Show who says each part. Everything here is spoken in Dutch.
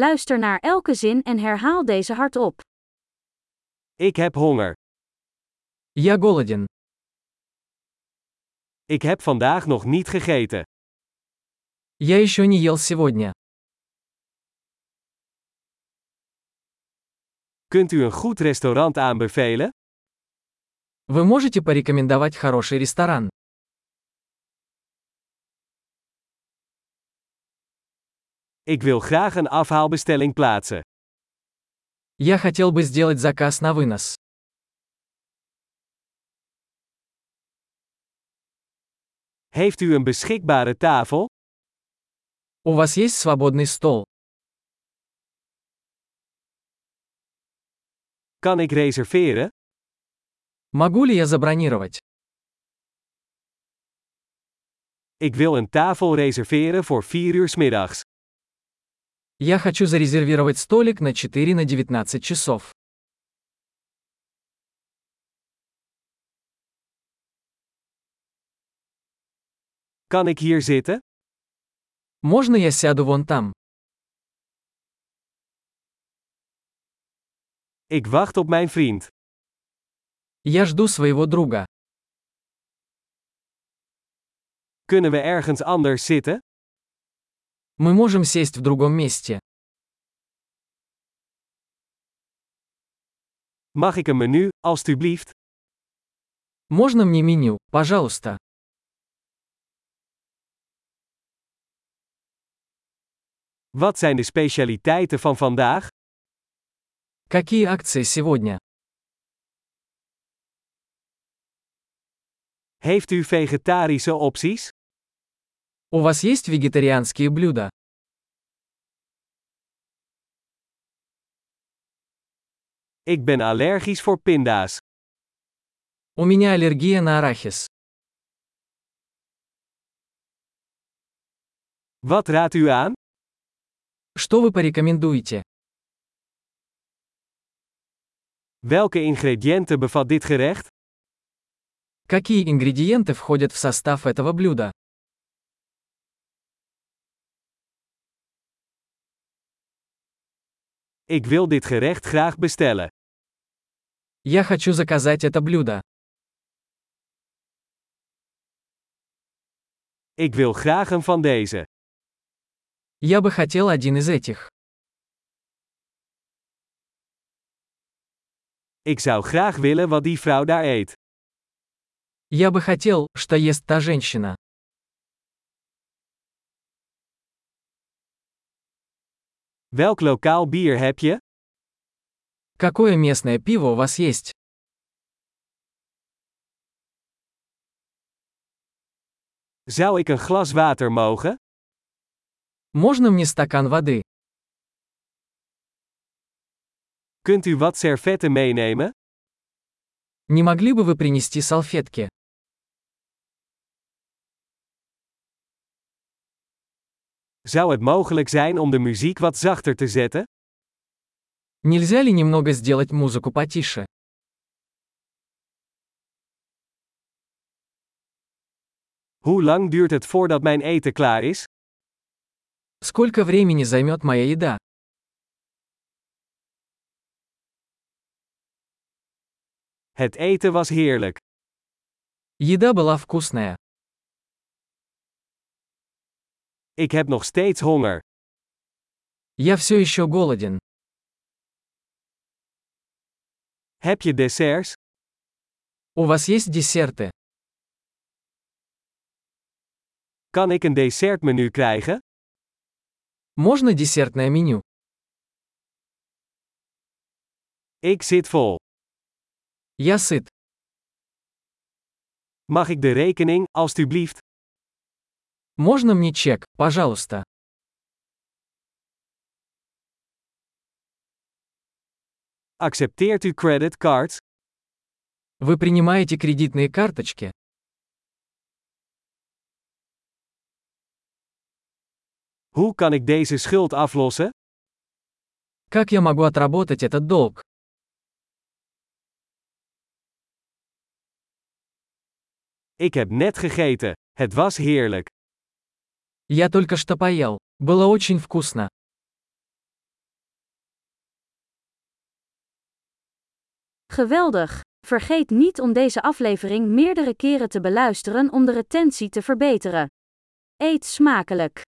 Speaker 1: Luister naar elke zin en herhaal deze hardop.
Speaker 2: Ik heb honger.
Speaker 3: Я голоден.
Speaker 2: Ik heb vandaag nog niet gegeten.
Speaker 3: Я еще не ел сегодня.
Speaker 2: Kunt u een goed restaurant aanbevelen?
Speaker 3: Вы можете порекомендовать хороший ресторан?
Speaker 2: Ik wil graag een afhaalbestelling plaatsen.
Speaker 3: Я хотел бы сделать заказ на вынос.
Speaker 2: Heeft u een beschikbare tafel?
Speaker 3: У вас есть свободный стол?
Speaker 2: Kan ik reserveren?
Speaker 3: Могу ли я забронировать?
Speaker 2: Ik wil een tafel reserveren voor 4 uur 's middags.
Speaker 3: Я хочу зарезервировать столик на 4 на 19 часов.
Speaker 2: Kan ik hier zitten?
Speaker 3: Можно я сяду вон там?
Speaker 2: Ik wacht op mijn vriend.
Speaker 3: Я жду своего друга.
Speaker 2: Kunnen we ergens anders zitten?
Speaker 3: Мы можем сесть в другом месте.
Speaker 2: Mag ik een menu, alstublieft?
Speaker 3: Можно мне меню, пожалуйста?
Speaker 2: Wat zijn de specialiteiten van vandaag?
Speaker 3: Какие акции сегодня?
Speaker 2: Heeft u vegetarische opties?
Speaker 3: У вас есть вегетарианские блюда?
Speaker 2: Ik ben allergisch voor pinda's.
Speaker 3: У меня аллергия на арахис.
Speaker 2: Wat raadt u aan?
Speaker 3: Что вы порекомендуете?
Speaker 2: Welke ingrediënten bevat dit gerecht?
Speaker 3: Какие ингредиенты входят в состав этого блюда?
Speaker 2: Ik wil dit gerecht graag bestellen.
Speaker 3: Я хочу заказать это блюдо.
Speaker 2: Ik wil graag een van deze.
Speaker 3: Я бы хотел один из этих.
Speaker 2: Ik zou graag willen wat die vrouw daar eet.
Speaker 3: Я бы хотел, что ест та женщина.
Speaker 2: Welk lokaal bier heb je?
Speaker 3: Какое местное пиво у вас есть?
Speaker 2: Zou ik een glas water mogen?
Speaker 3: Можно мне стакан воды?
Speaker 2: Kunt u wat servetten meenemen?
Speaker 3: Не могли бы вы принести салфетки?
Speaker 2: Zou het mogelijk zijn om de muziek wat zachter te zetten?
Speaker 3: Нельзя ли немного сделать музыку потише?
Speaker 2: Hoe lang duurt het voordat mijn eten klaar is?
Speaker 3: Сколько времени займет моя еда?
Speaker 2: Het eten was heerlijk.
Speaker 3: Еда была вкусная.
Speaker 2: Ik heb nog steeds honger.
Speaker 3: Я все еще голоден.
Speaker 2: Heb je desserts?
Speaker 3: У вас есть десерты?
Speaker 2: Kan ik een dessertmenu krijgen?
Speaker 3: Можно десертное меню?
Speaker 2: Ik zit vol.
Speaker 3: Я сыт.
Speaker 2: Mag ik de rekening, alstublieft?
Speaker 3: Можно мне чек, пожалуйста?
Speaker 2: Accepteert u creditcards?
Speaker 3: Вы принимаете кредитные карточки?
Speaker 2: Hoe kan ik deze schuld aflossen?
Speaker 3: Как я могу отработать этот долг?
Speaker 2: Ik heb net gegeten. Het was heerlijk.
Speaker 3: Я только что поел. Было очень вкусно.
Speaker 1: Geweldig! Vergeet niet om deze aflevering meerdere keren te beluisteren om de retentie te verbeteren. Eet smakelijk!